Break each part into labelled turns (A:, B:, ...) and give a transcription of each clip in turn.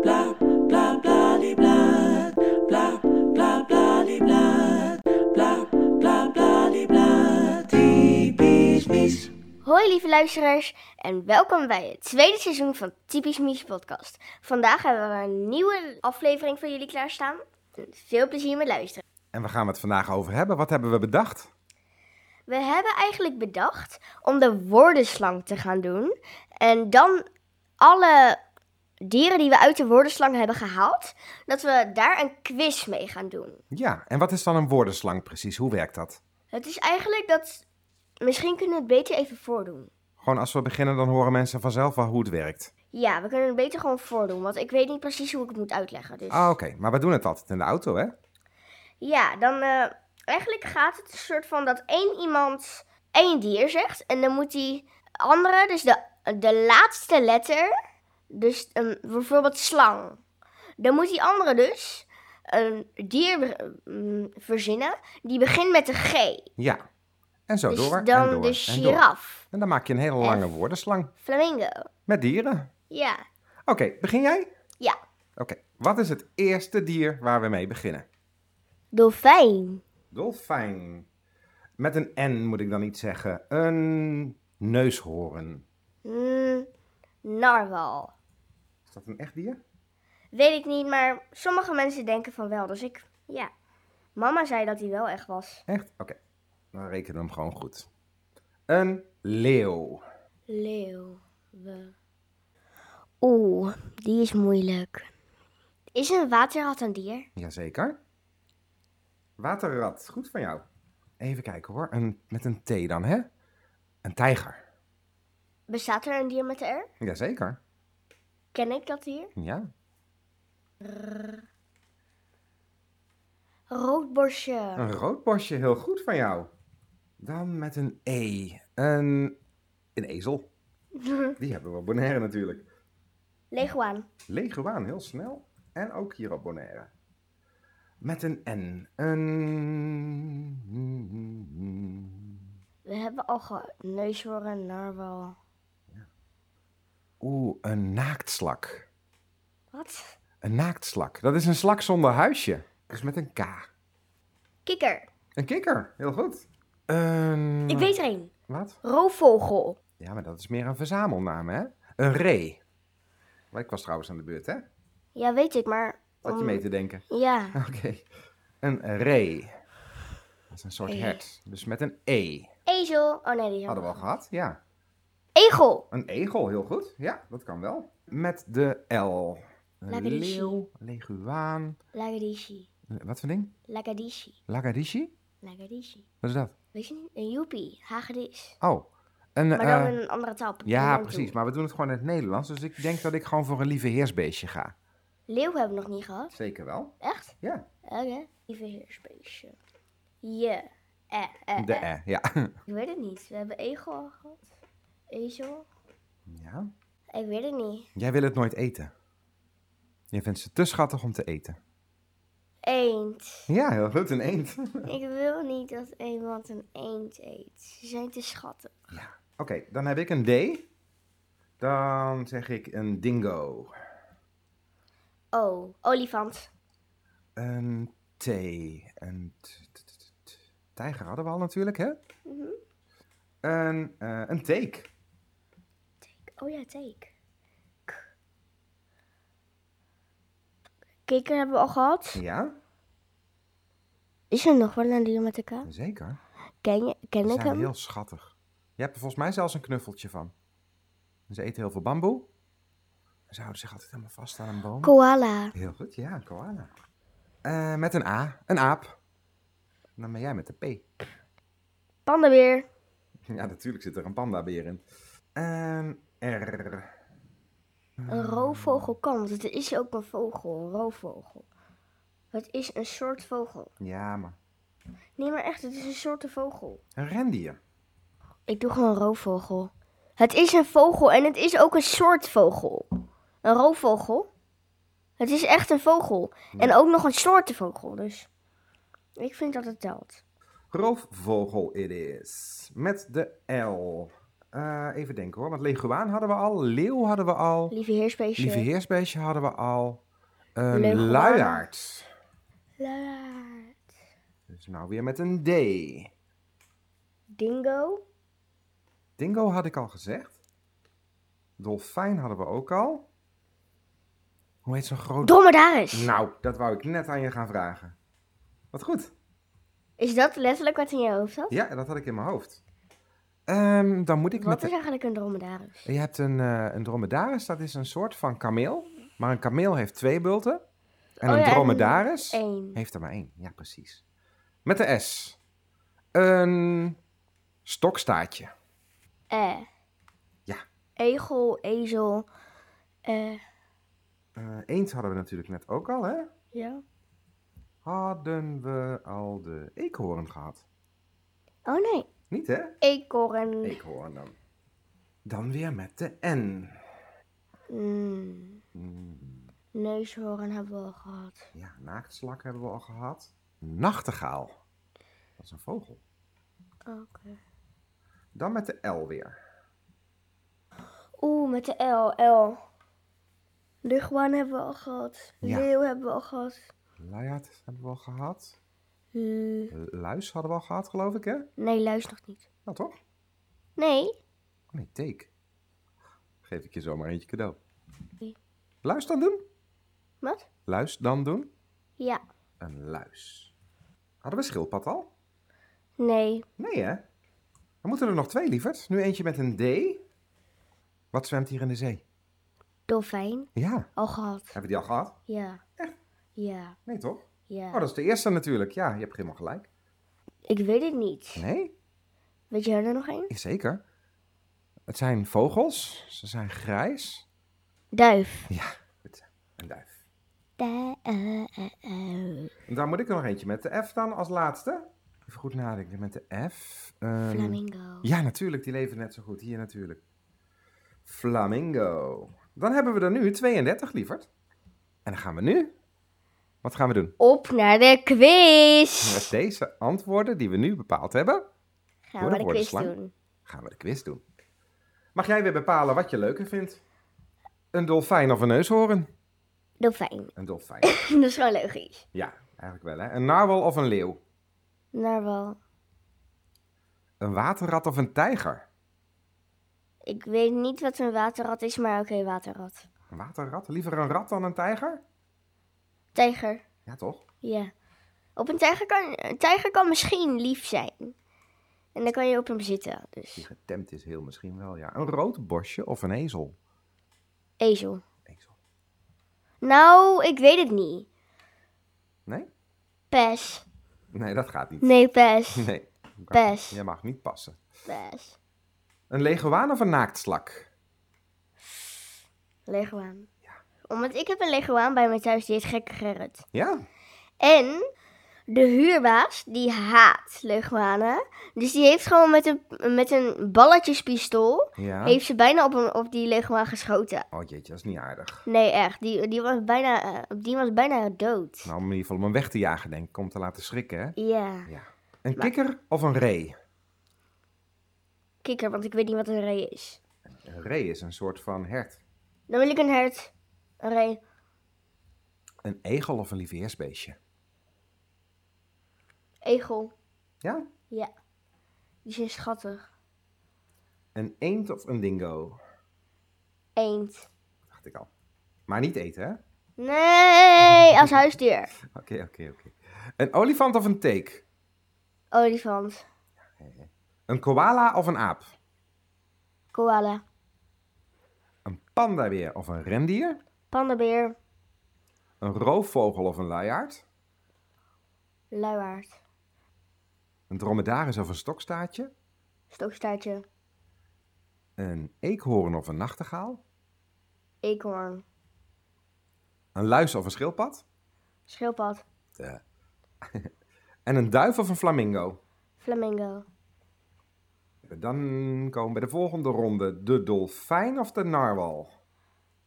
A: bla bla bla die bla bla bla bla die bla bla bla bla die bla typisch mies.
B: Hoi lieve luisteraars en welkom bij het tweede seizoen van Typisch Mies podcast. Vandaag hebben we een nieuwe aflevering voor jullie klaarstaan. Veel plezier met luisteren.
C: En waar gaan we het vandaag over hebben? Wat hebben we bedacht?
B: We hebben eigenlijk bedacht om de woordenslang te gaan doen. En dan alle dieren die we uit de woordenslang hebben gehaald, dat we daar een quiz mee gaan doen.
C: Ja, en wat is dan een woordenslang precies? Hoe werkt dat?
B: Het is eigenlijk dat, misschien kunnen we het beter even voordoen.
C: Gewoon als we beginnen, dan horen mensen vanzelf wel hoe het werkt.
B: Ja, we kunnen het beter gewoon voordoen, want ik weet niet precies hoe ik het moet uitleggen. Dus...
C: Ah, oké. Maar we doen het altijd in de auto, hè?
B: Ja, dan eh, eigenlijk gaat het een soort van dat één iemand één dier zegt. En dan moet die andere, dus de, de laatste letter, dus een, bijvoorbeeld slang. Dan moet die andere dus een dier be- mm, verzinnen die begint met een G.
C: Ja. En zo
B: Dus
C: Oh, door. en
B: dan
C: door,
B: de
C: en door.
B: giraf,
C: En dan maak je een hele lange woordenslang
B: flamingo.
C: met dieren.
B: Ja,
C: Oké, begin jij? Oké.
B: ja.
C: Wat is het eerste dier waar we mee beginnen?
B: Dolfijn,
C: Dolfijn. Met een N moet ik dan niet zeggen. Een neushoorn.
B: mm, narwal.
C: Is dat een echt dier?
B: Weet ik niet, maar sommige mensen denken van wel. Dus ik, ja. Mama zei dat hij wel echt was.
C: Echt? Oké. Dan rekenen we hem gewoon goed. Een leeuw.
B: Leeuw. Oeh, die is moeilijk. Is een waterrat een dier?
C: Jazeker. Waterrat, goed van jou. Even kijken hoor, een, met een T dan, hè? Een tijger.
B: Bestaat er een dier met een R?
C: Jazeker.
B: Ken ik dat dier?
C: Ja.
B: Roodborstje.
C: Een roodborstje, heel goed van jou. Dan met een E. Een, een ezel. Die hebben we op Bonaire natuurlijk.
B: Leguaan.
C: Leguaan, heel snel. En ook hier op Bonaire. Met een N. Een...
B: We hebben al gehad. Neushoorn, narwal.
C: Oeh, een naaktslak.
B: Wat?
C: Een naaktslak. Dat is een slak zonder huisje. Dus met een K.
B: Kikker.
C: Een kikker, heel goed. Een...
B: Ik weet er een.
C: Wat?
B: Roofvogel.
C: Ja, maar dat is meer een verzamelnaam, hè? Een ree. Maar ik was trouwens aan de beurt, hè?
B: Ja, weet ik, maar...
C: Wat je
B: om-
C: mee te denken.
B: Ja.
C: Oké. Een ree. Dat is een soort
B: E.
C: hert. Dus met een E.
B: Ezel. Oh nee, die
C: Hadden we al gehad, ja.
B: Egel.
C: Een egel, heel goed. Ja, dat kan wel. Met de L. Een
B: Lagadishi.
C: leeuw, leguaan.
B: Lagadishi.
C: Wat voor ding?
B: Lagadishi.
C: Lagadishi?
B: Lagadishi.
C: Wat is dat?
B: Weet je niet? Een joepie. Hagedis.
C: Oh. Een,
B: Maar dan
C: eh,
B: in een andere taal.
C: Ja,
B: Dan toe.
C: precies. Maar we doen het gewoon in het Nederlands. Dus ik denk dat ik gewoon voor een lieve heersbeestje ga.
B: Leeuw hebben we nog niet gehad.
C: Zeker wel.
B: Echt?
C: Ja.
B: Oké. Lieve heersbeestje. Je. Eh, eh,
C: De
B: eh.
C: E, ja.
B: Ik weet het niet. We hebben egel al gehad. Ezel.
C: ja.
B: Ik weet het niet.
C: Jij wil het nooit eten. Je vindt ze te schattig om te eten.
B: Eend.
C: Ja, heel goed. Een eend. Oké,
B: Ik wil niet dat iemand een eend eet. Ze zijn te schattig.
C: dan heb ik een D. Dan zeg ik een dingo.
B: Oh, olifant.
C: Een T. Een t, t, t, t, t. Tijger hadden we al natuurlijk, hè?
B: Mhm.
C: Een, eh, een teek.
B: Oh ja, take. K. Kikker hebben we al gehad.
C: Ja,
B: Is er nog wel een dier met een K?
C: zeker.
B: Ken, je, ken
C: Ze
B: ik
C: zijn
B: hem?
C: heel schattig. Je hebt er volgens mij zelfs een knuffeltje van. En Ze eten heel veel bamboe. En Ze houden zich altijd helemaal vast aan een boom.
B: Koala.
C: Heel goed, ja, een koala. Eh, met een A, een aap. En Dan ben jij met de P.
B: Panda weer.
C: Ja, natuurlijk zit er een pandabeer in. Ehm, Een R.
B: Een roofvogel kan, want het is ook een vogel, een roofvogel. Het is een soort vogel.
C: Ja, maar.
B: Nee, maar echt, het is een soort vogel.
C: Een rendier.
B: Ik doe gewoon roofvogel. Het is een vogel en het is ook een soort vogel. Een roofvogel. Het is echt een vogel. En ook nog een soort vogel, dus ik vind dat het telt.
C: Roofvogel it is. Met de L. Eh, even denken hoor, want leguaan hadden we al, leeuw hadden we al,
B: Lieve heersbeestje.
C: lieve heersbeestje hadden we al, een
B: Leguaan.
C: luiaard.
B: Luiaard.
C: Dus nou weer met een D.
B: Dingo.
C: Dingo had ik al gezegd. Dolfijn hadden we ook al. Hoe heet zo'n groot...
B: Dromedaris.
C: Nou, dat wou ik net aan je gaan vragen. Wat goed.
B: Is dat letterlijk wat in je hoofd zat?
C: Ja, dat had ik in mijn hoofd. Ehm, dan moet ik met
B: Wat
C: de-
B: is eigenlijk een dromedaris?
C: Je hebt een, eh, een dromedaris, dat is een soort van kameel. Maar een kameel heeft twee bulten. En
B: Oh
C: een
B: ja, en
C: dromedaris
B: Eén.
C: heeft er maar één. Ja, precies. Met de S. Een stokstaartje.
B: Eh.
C: Ja.
B: Egel, ezel. Eh.
C: Eh eend hadden we natuurlijk net ook al, hè?
B: Ja.
C: Hadden we al de eekhoorn gehad?
B: Oh nee.
C: Niet, hè?
B: Eekhoorn.
C: Eekhoorn dan. Dan weer met de N.
B: Mm.
C: Hmm,
B: Neushoorn hebben we al gehad.
C: Ja, naaktslak hebben we al gehad. Nachtegaal. Dat is een vogel.
B: Oké.
C: Dan met de L weer.
B: Oeh, met de L. L. Luchtbaan hebben we al gehad.
C: Ja.
B: Leeuw hebben we al gehad.
C: Luiaard hebben we al gehad.
B: L-
C: Luis hadden we al gehad, geloof ik, hè?
B: Nee, luister nog niet.
C: Nou, toch?
B: Nee.
C: Oh, nee, take. Geef ik je zomaar eentje cadeau.
B: Oké.
C: Luis dan doen?
B: Wat?
C: Luis dan doen?
B: Ja.
C: Een luis. Hadden we schildpad al?
B: Nee.
C: Nee, hè? Dan moeten er nog twee, lieverd. Nu eentje met een D. Wat zwemt hier in de zee?
B: Dolfijn.
C: Ja.
B: Al gehad.
C: Hebben we die al gehad?
B: Ja. Ja.
C: Nee, toch? Oh,
B: Ja.
C: dat is de eerste natuurlijk. Ja, je hebt helemaal gelijk.
B: Ik weet het niet.
C: Nee,
B: Weet jij er nog één?
C: zeker. Het zijn vogels. Ze zijn grijs.
B: Duif.
C: Ja, het een duif.
B: Du- eh, eh, eh.
C: En daar moet ik er nog eentje met de F dan als laatste. Even goed nadenken. Met de F. ehm,
B: Flamingo.
C: Ja, natuurlijk. Die leven net zo goed. Hier natuurlijk. Flamingo. Dan hebben we er nu 32, lieverd. En dan gaan we nu... Wat gaan we doen?
B: Op naar de quiz.
C: Met deze antwoorden die we nu bepaald hebben,
B: Gaan we de quiz
C: woordenslang.
B: doen.
C: gaan we de quiz doen. Mag jij weer bepalen wat je leuker vindt? Een dolfijn of een neushoorn?
B: Dolfijn.
C: Een dolfijn.
B: Dat is gewoon logisch.
C: ja, eigenlijk wel hè. Een narwal of een leeuw?
B: Narwal.
C: Een waterrat of een tijger?
B: Ik weet niet wat een waterrat is, maar oké, waterrat.
C: Een waterrat? Liever een rat dan een tijger?
B: Tijger.
C: Ja toch?
B: Ja. Op een tijger kan, een tijger kan misschien lief zijn. En dan kan je op hem zitten.
C: Die
B: Dus
C: getemd is heel misschien wel, ja. Een rood bosje of een ezel?
B: ezel.
C: Ezel.
B: Nou, ik weet het niet.
C: Nee?
B: Pes.
C: Nee, dat gaat niet.
B: Nee, pes.
C: Nee.
B: Pes.
C: Je mag niet passen.
B: Pes.
C: Een leguaan of een naaktslak?
B: Leguaan. Omdat ik heb een leguaan bij me thuis, die heet Gekke Gerrit.
C: Ja,
B: En de huurbaas, die haat leguanen. Dus die heeft gewoon met een, met een balletjespistool...
C: Ja.
B: heeft ze bijna op, hem, op die leguaan geschoten.
C: Oh jeetje, dat is niet aardig.
B: Nee, echt. Die, die, was, bijna, eh, die was bijna dood.
C: Nou, om in ieder geval om hem weg te jagen, denk ik. Om te laten schrikken, hè?
B: Ja,
C: Ja. Een kikker of een ree?
B: kikker, want ik weet niet wat een ree is.
C: Een ree is een soort van hert.
B: Dan wil ik een hert. Een ree.
C: Een egel of een lieveheersbeestje?
B: Egel.
C: Ja?
B: Ja. Die zijn schattig.
C: Een eend of een dingo?
B: Eend.
C: Dacht ik al. Maar niet eten, hè? Oké,
B: Nee, als huisdier.
C: oké, oké. Een olifant of een teek?
B: Oh, Olifant.
C: Een koala of een aap?
B: Koala.
C: Een pandabeer of een rendier?
B: Pandabeer.
C: Een roofvogel of een luiaard?
B: Luiaard.
C: Een dromedaris of een stokstaartje?
B: Stokstaartje.
C: Een eekhoorn of een nachtegaal?
B: Eekhoorn.
C: Een luis of een schildpad?
B: Schildpad.
C: En een duif of een flamingo?
B: Flamingo.
C: Dan komen we bij de volgende ronde. De dolfijn of de narwal?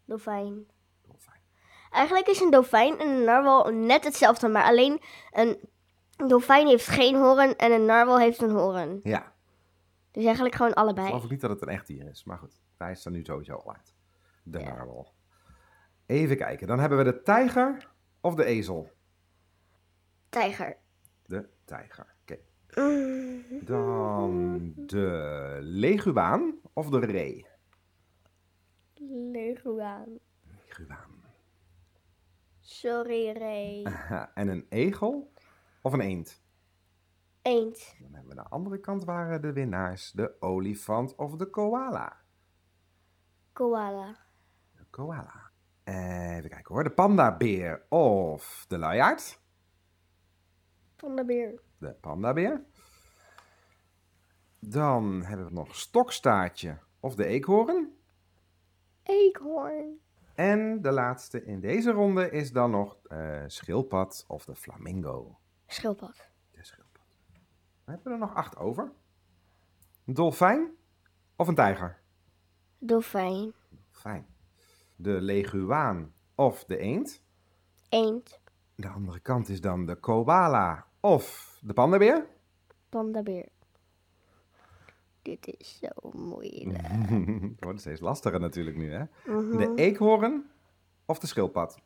B: Dolfijn.
C: Dolfijn.
B: Eigenlijk is een dolfijn en een narwal net hetzelfde, maar alleen een dolfijn heeft geen horen en een narwal heeft een horen.
C: Ja.
B: Dus eigenlijk gewoon
C: Ik
B: allebei.
C: geloof niet dat het een echt dier is, maar goed. Hij is er nu sowieso al uit. De
B: Ja.
C: narwal. Even kijken. Dan hebben we de tijger of de ezel?
B: Tijger.
C: De tijger. Oké.
B: Mm,
C: Dan de leguaan of de ree?
B: leguaan.
C: Leguaan.
B: Sorry, Ray.
C: Aha, En een egel of een eend?
B: Eend.
C: Dan hebben we de andere kant waren de winnaars. De olifant of de koala?
B: Koala.
C: De koala. Even kijken hoor. De pandabeer of de luiaard?
B: Pandabeer.
C: De pandabeer. Dan hebben we nog stokstaartje of de eekhoorn.
B: Eekhoorn.
C: En de laatste in deze ronde is dan nog eh schildpad of de flamingo.
B: Schildpad.
C: De schildpad. We hebben er nog acht over. Een dolfijn of een tijger?
B: Dolfijn.
C: Fijn. De leguaan of de eend.
B: Eend.
C: De andere kant is dan de koala of de pandabeer.
B: Pandabeer. Dit is zo moeilijk.
C: Het wordt steeds lastiger natuurlijk nu, hè?
B: Mhm.
C: De eekhoorn of de schildpad?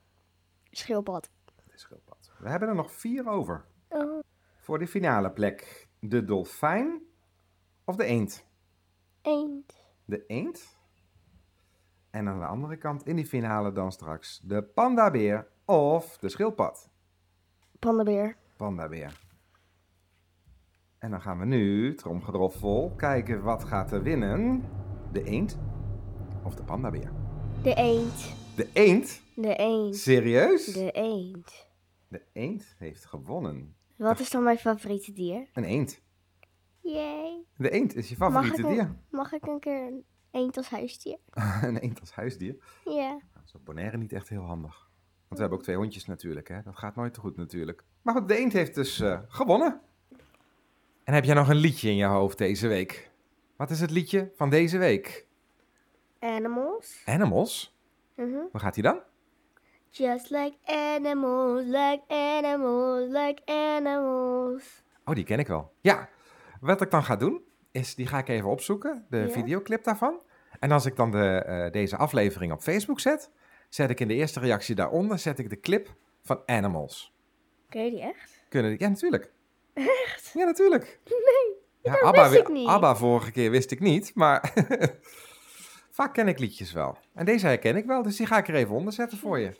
B: Schildpad.
C: De schildpad. We hebben er nog vier over.
B: Oh.
C: Voor de finale plek. De dolfijn of de eend?
B: Eend.
C: De eend. En aan de andere kant in die finale dan straks de pandabeer of de schildpad.
B: Pandabeer.
C: Pandabeer. En dan gaan we nu, tromgeroffel, kijken wat gaat er winnen. De eend of de pandabeer?
B: De eend.
C: De eend?
B: De eend.
C: Serieus?
B: De eend.
C: De eend heeft gewonnen.
B: Wat is dan mijn favoriete dier?
C: Een eend.
B: Yay.
C: De eend is je
B: Mag ik,
C: favoriete dier.
B: een, mag ik een keer een eend als huisdier?
C: een eend als huisdier.
B: Ja.
C: Nou, Dat is op Bonaire niet echt heel handig. Want we hebben ook twee hondjes natuurlijk, hè. Dat gaat nooit te goed natuurlijk. Maar goed, de eend heeft dus eh, gewonnen. En heb jij nog een liedje in je hoofd deze week? Wat is het liedje van deze week?
B: Animals.
C: Animals?
B: Mhm.
C: Waar gaat hij dan?
B: Just like animals, like animals, like animals.
C: Oh, die ken ik wel. Ja, wat ik dan ga doen, is die ga ik even opzoeken, de
B: Ja.
C: videoclip daarvan. En als ik dan de, eh, deze aflevering op Facebook zet, zet ik in de eerste reactie daaronder, zet ik de clip van Animals.
B: Ken je die echt?
C: Kunnen, ja, natuurlijk. Echt? Ja, natuurlijk.
B: Nee.
C: Ja,
B: dat
C: ABBA,
B: wist ik
C: wi-
B: niet.
C: ABBA vorige keer wist ik niet, maar vaak ken ik liedjes wel. En deze herken ik wel, dus die ga ik er even onder zetten voor je.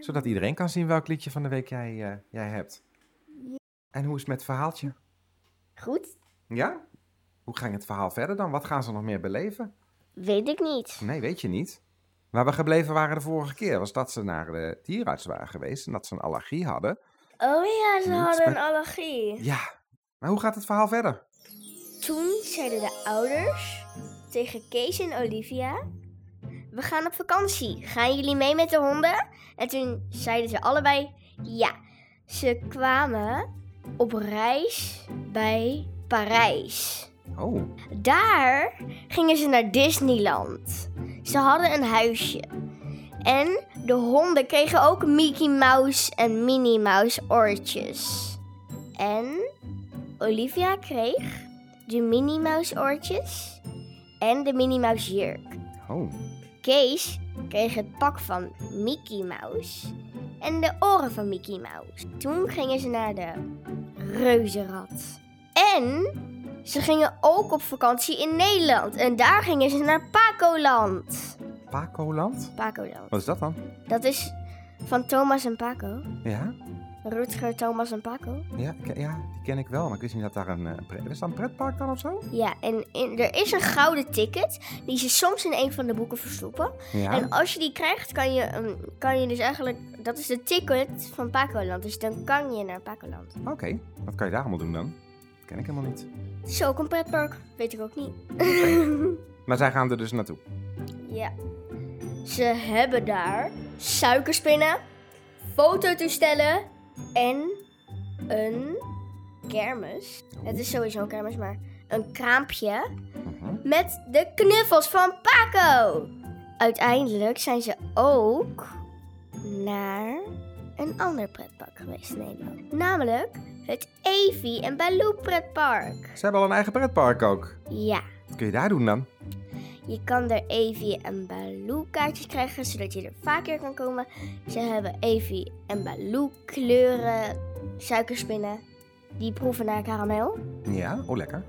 C: Zodat iedereen kan zien welk liedje van de week jij, eh, jij hebt. En hoe is het met het verhaaltje?
B: Goed.
C: Ja? Hoe ging het verhaal verder dan? Wat gaan ze nog meer beleven?
B: Weet ik niet.
C: Nee, weet je niet. Waar we gebleven waren de vorige keer was dat ze naar de dierenarts waren geweest en dat ze een allergie hadden.
B: Oh ja, ze
C: Niets
B: hadden een
C: met-
B: allergie.
C: Ja, maar hoe gaat het verhaal verder?
B: Toen zeiden de ouders tegen Kees en Olivia: We gaan op vakantie. Gaan jullie mee met de honden? En toen zeiden ze allebei: Ja. Ze kwamen op reis bij Parijs.
C: Oh,
B: Daar gingen ze naar Disneyland. Ze hadden een huisje. En de honden kregen ook Mickey Mouse en Minnie Mouse oortjes. En Olivia kreeg de Minnie Mouse oortjes en de Minnie Mouse jurk.
C: oh.
B: Kees kreeg het pak van Mickey Mouse en de oren van Mickey Mouse. Toen gingen ze naar de reuzenrad. En ze gingen ook op vakantie in Nederland. En daar gingen ze naar Pacoland.
C: Pacoland? Wat
B: Pacoland.
C: is dat dan?
B: Dat is van Thomas en Paco.
C: Ja?
B: Rutger, Thomas en Paco.
C: Ja, ik- ja, die ken ik wel, maar ik wist niet dat daar een... eh, pre- Is dat een pretpark dan of zo?
B: Ja, en, en er is een gouden ticket die ze soms in een van de boeken verstoppen.
C: Ja.
B: En als je die krijgt, kan je, ehm, kan je dus eigenlijk... Dat is de ticket van Pacoland. Dus dan kan je naar Pacoland.
C: Oké, wat kan je daar allemaal doen dan? Ken ik helemaal niet.
B: Het is ook een pretpark. Weet ik ook niet.
C: Maar zij gaan er dus naartoe.
B: Ja. Ze hebben daar suikerspinnen, fototoestellen en een kermis. Het is sowieso een kermis, maar een kraampje
C: Mhm.
B: met de knuffels van Paco. Uiteindelijk zijn ze ook naar een ander pretpark geweest in Nederland. Namelijk het Evi en Baloo pretpark.
C: Ze hebben al een eigen pretpark ook.
B: Ja,
C: Wat kun je daar doen dan?
B: je kan er Evi en Baloo kaartjes krijgen, zodat je er vaker kan komen. Ze hebben Evi en Baloo kleuren, suikerspinnen, die proeven naar karamel.
C: Ja, oh lekker.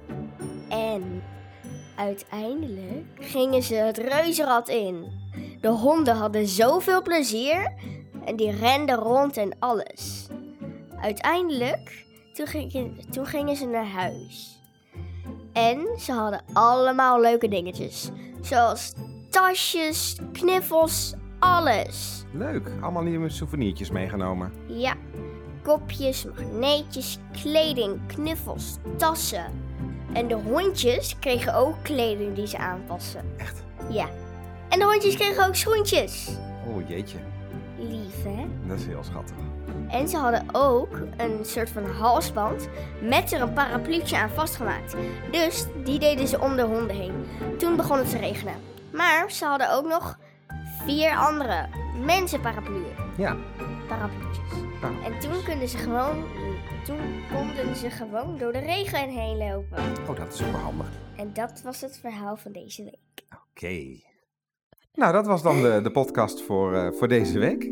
B: En uiteindelijk gingen ze het reuzenrad in. De honden hadden zoveel plezier en die renden rond en alles. Uiteindelijk, toen, ging- toen gingen ze naar huis. En ze hadden allemaal leuke dingetjes. Zoals tasjes, knuffels, alles.
C: Leuk. Allemaal nieuwe souvenirtjes meegenomen.
B: Ja, kopjes, magneetjes, kleding, knuffels, tassen. En de hondjes kregen ook kleding die ze aanpassen.
C: Echt?
B: Ja. En de hondjes kregen ook schoentjes.
C: Oh jeetje,
B: Lief, hè?
C: dat is heel schattig.
B: En ze hadden ook een soort van halsband met er een parapluutje aan vastgemaakt. Dus die deden ze om de honden heen. Toen begon het te regenen. Maar ze hadden ook nog vier andere mensenparapluën.
C: Ja,
B: parapluutjes.
C: Nou,
B: En toen konden ze gewoon, toen konden ze gewoon door de regen heen lopen.
C: oh dat is superhandig.
B: En dat was het verhaal van deze week.
C: Oké. Nou, dat was dan de, de podcast voor, eh, voor deze week.